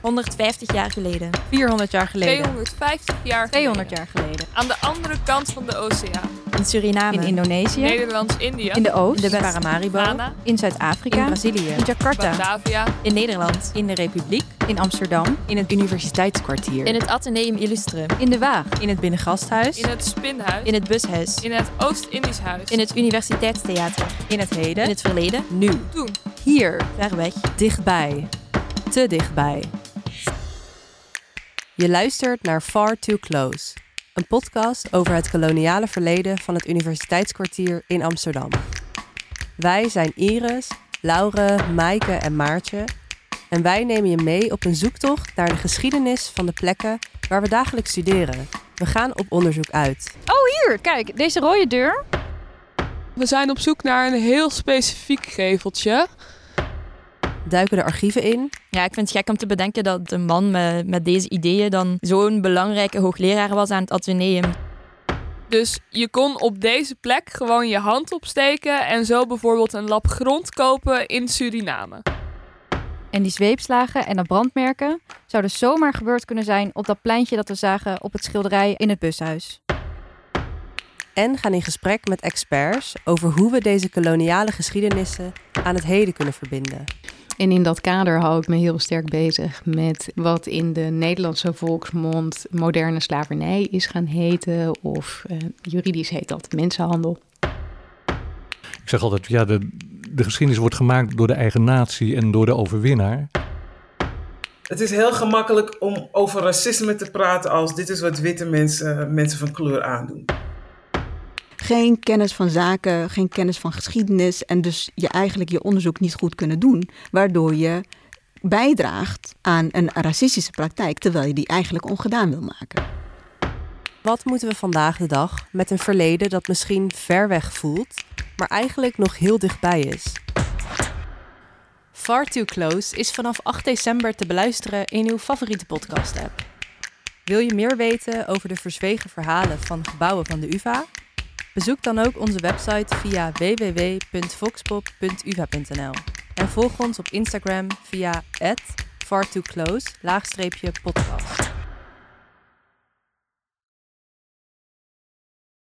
150 jaar geleden. 400 jaar geleden. 250 jaar 200 geleden. jaar geleden. Aan de andere kant van de oceaan. In Suriname. In Indonesië. Nederlands-Indië. In de Oost. De West- Paramaribo. Ghana. In in Zuid-Afrika. Brazilië. In Jakarta. Batavia. In Nederland. In de Republiek. In Amsterdam. In het universiteitskwartier. In het Atheneum Illustre. In de Waag. in het binnengasthuis. In het Spinhuis. In het Bushuis. In het Oost-Indisch Huis. In het Universiteitstheater. in het heden. In het verleden. nu. Toen. Hier. Ver weg. Dichtbij. Te dichtbij. Je luistert naar Far Too Close. Een podcast over het koloniale verleden van het universiteitskwartier in Amsterdam. Wij zijn Iris, Laure, Maaike en Maartje. En wij nemen je mee op een zoektocht naar de geschiedenis van de plekken waar we dagelijks studeren. We gaan op onderzoek uit. Hier, kijk, deze rode deur. We zijn op zoek naar een heel specifiek geveltje. Duiken de archieven in Ja, ik vind het gek om te bedenken dat een man met, met deze ideeën dan zo'n belangrijke hoogleraar was aan het Atheneum. Dus je kon op deze plek gewoon je hand opsteken en zo bijvoorbeeld een lap grond kopen in Suriname. En die zweepslagen en dat brandmerken zouden zomaar gebeurd kunnen zijn op dat pleintje dat we zagen op het schilderij in het bushuis. en gaan in gesprek met experts over hoe we deze koloniale geschiedenissen aan het heden kunnen verbinden. En in dat kader hou ik me heel sterk bezig met wat in de Nederlandse volksmond moderne slavernij is gaan heten. Of eh, juridisch heet dat mensenhandel. Ik zeg altijd, ja, de, de geschiedenis wordt gemaakt door de eigen natie en door de overwinnaar. Het is heel gemakkelijk om over racisme te praten als dit is wat witte mensen mensen van kleur aandoen. geen kennis van zaken, geen kennis van geschiedenis en dus je eigenlijk je onderzoek niet goed kunnen doen, waardoor je bijdraagt aan een racistische praktijk terwijl je die eigenlijk ongedaan wil maken. Wat moeten we vandaag de dag met een verleden dat misschien ver weg voelt, maar eigenlijk nog heel dichtbij is? Far Too Close is vanaf 8 december te beluisteren in uw favoriete podcast-app. Wil je meer weten over de verzwegen verhalen van gebouwen van de UvA? Bezoek dan ook onze website via www.foxpop.uva.nl en volg ons op Instagram via @fartooclose-podcast.